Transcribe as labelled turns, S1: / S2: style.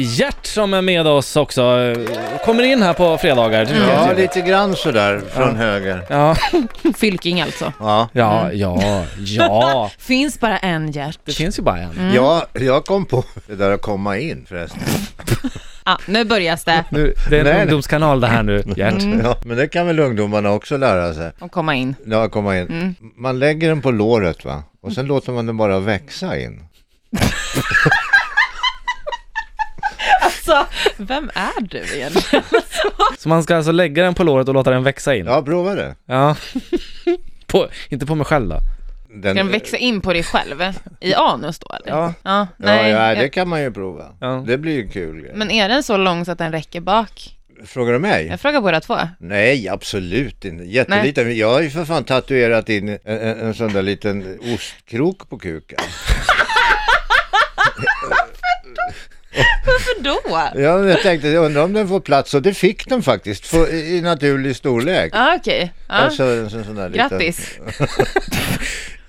S1: Gert som är med oss också. eh, Kommer in här på fredagar. Det tycker jag är
S2: Ja,
S1: trevligt.
S2: lite grann sådär från höger.
S1: ja. Mm.
S3: Fylking alltså.
S2: Ja.
S1: ja, ja, ja.
S3: Finns bara en Gert.
S1: Det finns ju bara en.
S3: Mm.
S2: ja, jag kom på det där att komma in förresten.
S3: Ah, nu börjar det
S1: Nu, det är en
S2: Nej, nej.
S1: ungdomskanal det här nu, Gert.
S3: Mm.
S2: Ja, men det kan väl ungdomarna också lära sig.
S3: att komma in.
S2: Ja, komma in.
S3: Mm.
S2: Man lägger den på låret va? Och sen låter man den bara växa in.
S3: Alltså, vem är du egentligen?
S1: Så man ska alltså lägga den på låret och låta den växa in?
S2: Ja, prova det.
S1: Ja. på, inte på mig själv då?
S3: Ska den växa in på dig själv? I anus då eller?
S1: Ja.
S3: nej.
S2: ja, ja, det
S3: jag-
S2: kan man ju prova.
S1: Ja.
S2: Det blir ju en kul grej.
S3: Men är den så lång så att den räcker bak?
S2: Frågar du mig?
S3: Jag frågar båda två.
S2: Nej, absolut inte. Jätteliten. Jag har ju för fan tatuerat in en, en, en sån där liten ostkrok på kuken.
S3: Varför då?
S2: Ja, men jag tänkte, jag undrar om den får plats och det fick den faktiskt, för, i naturlig storlek.
S3: Ja, okej. Ja.
S2: Alltså, en sån, sån där liten-
S3: Grattis.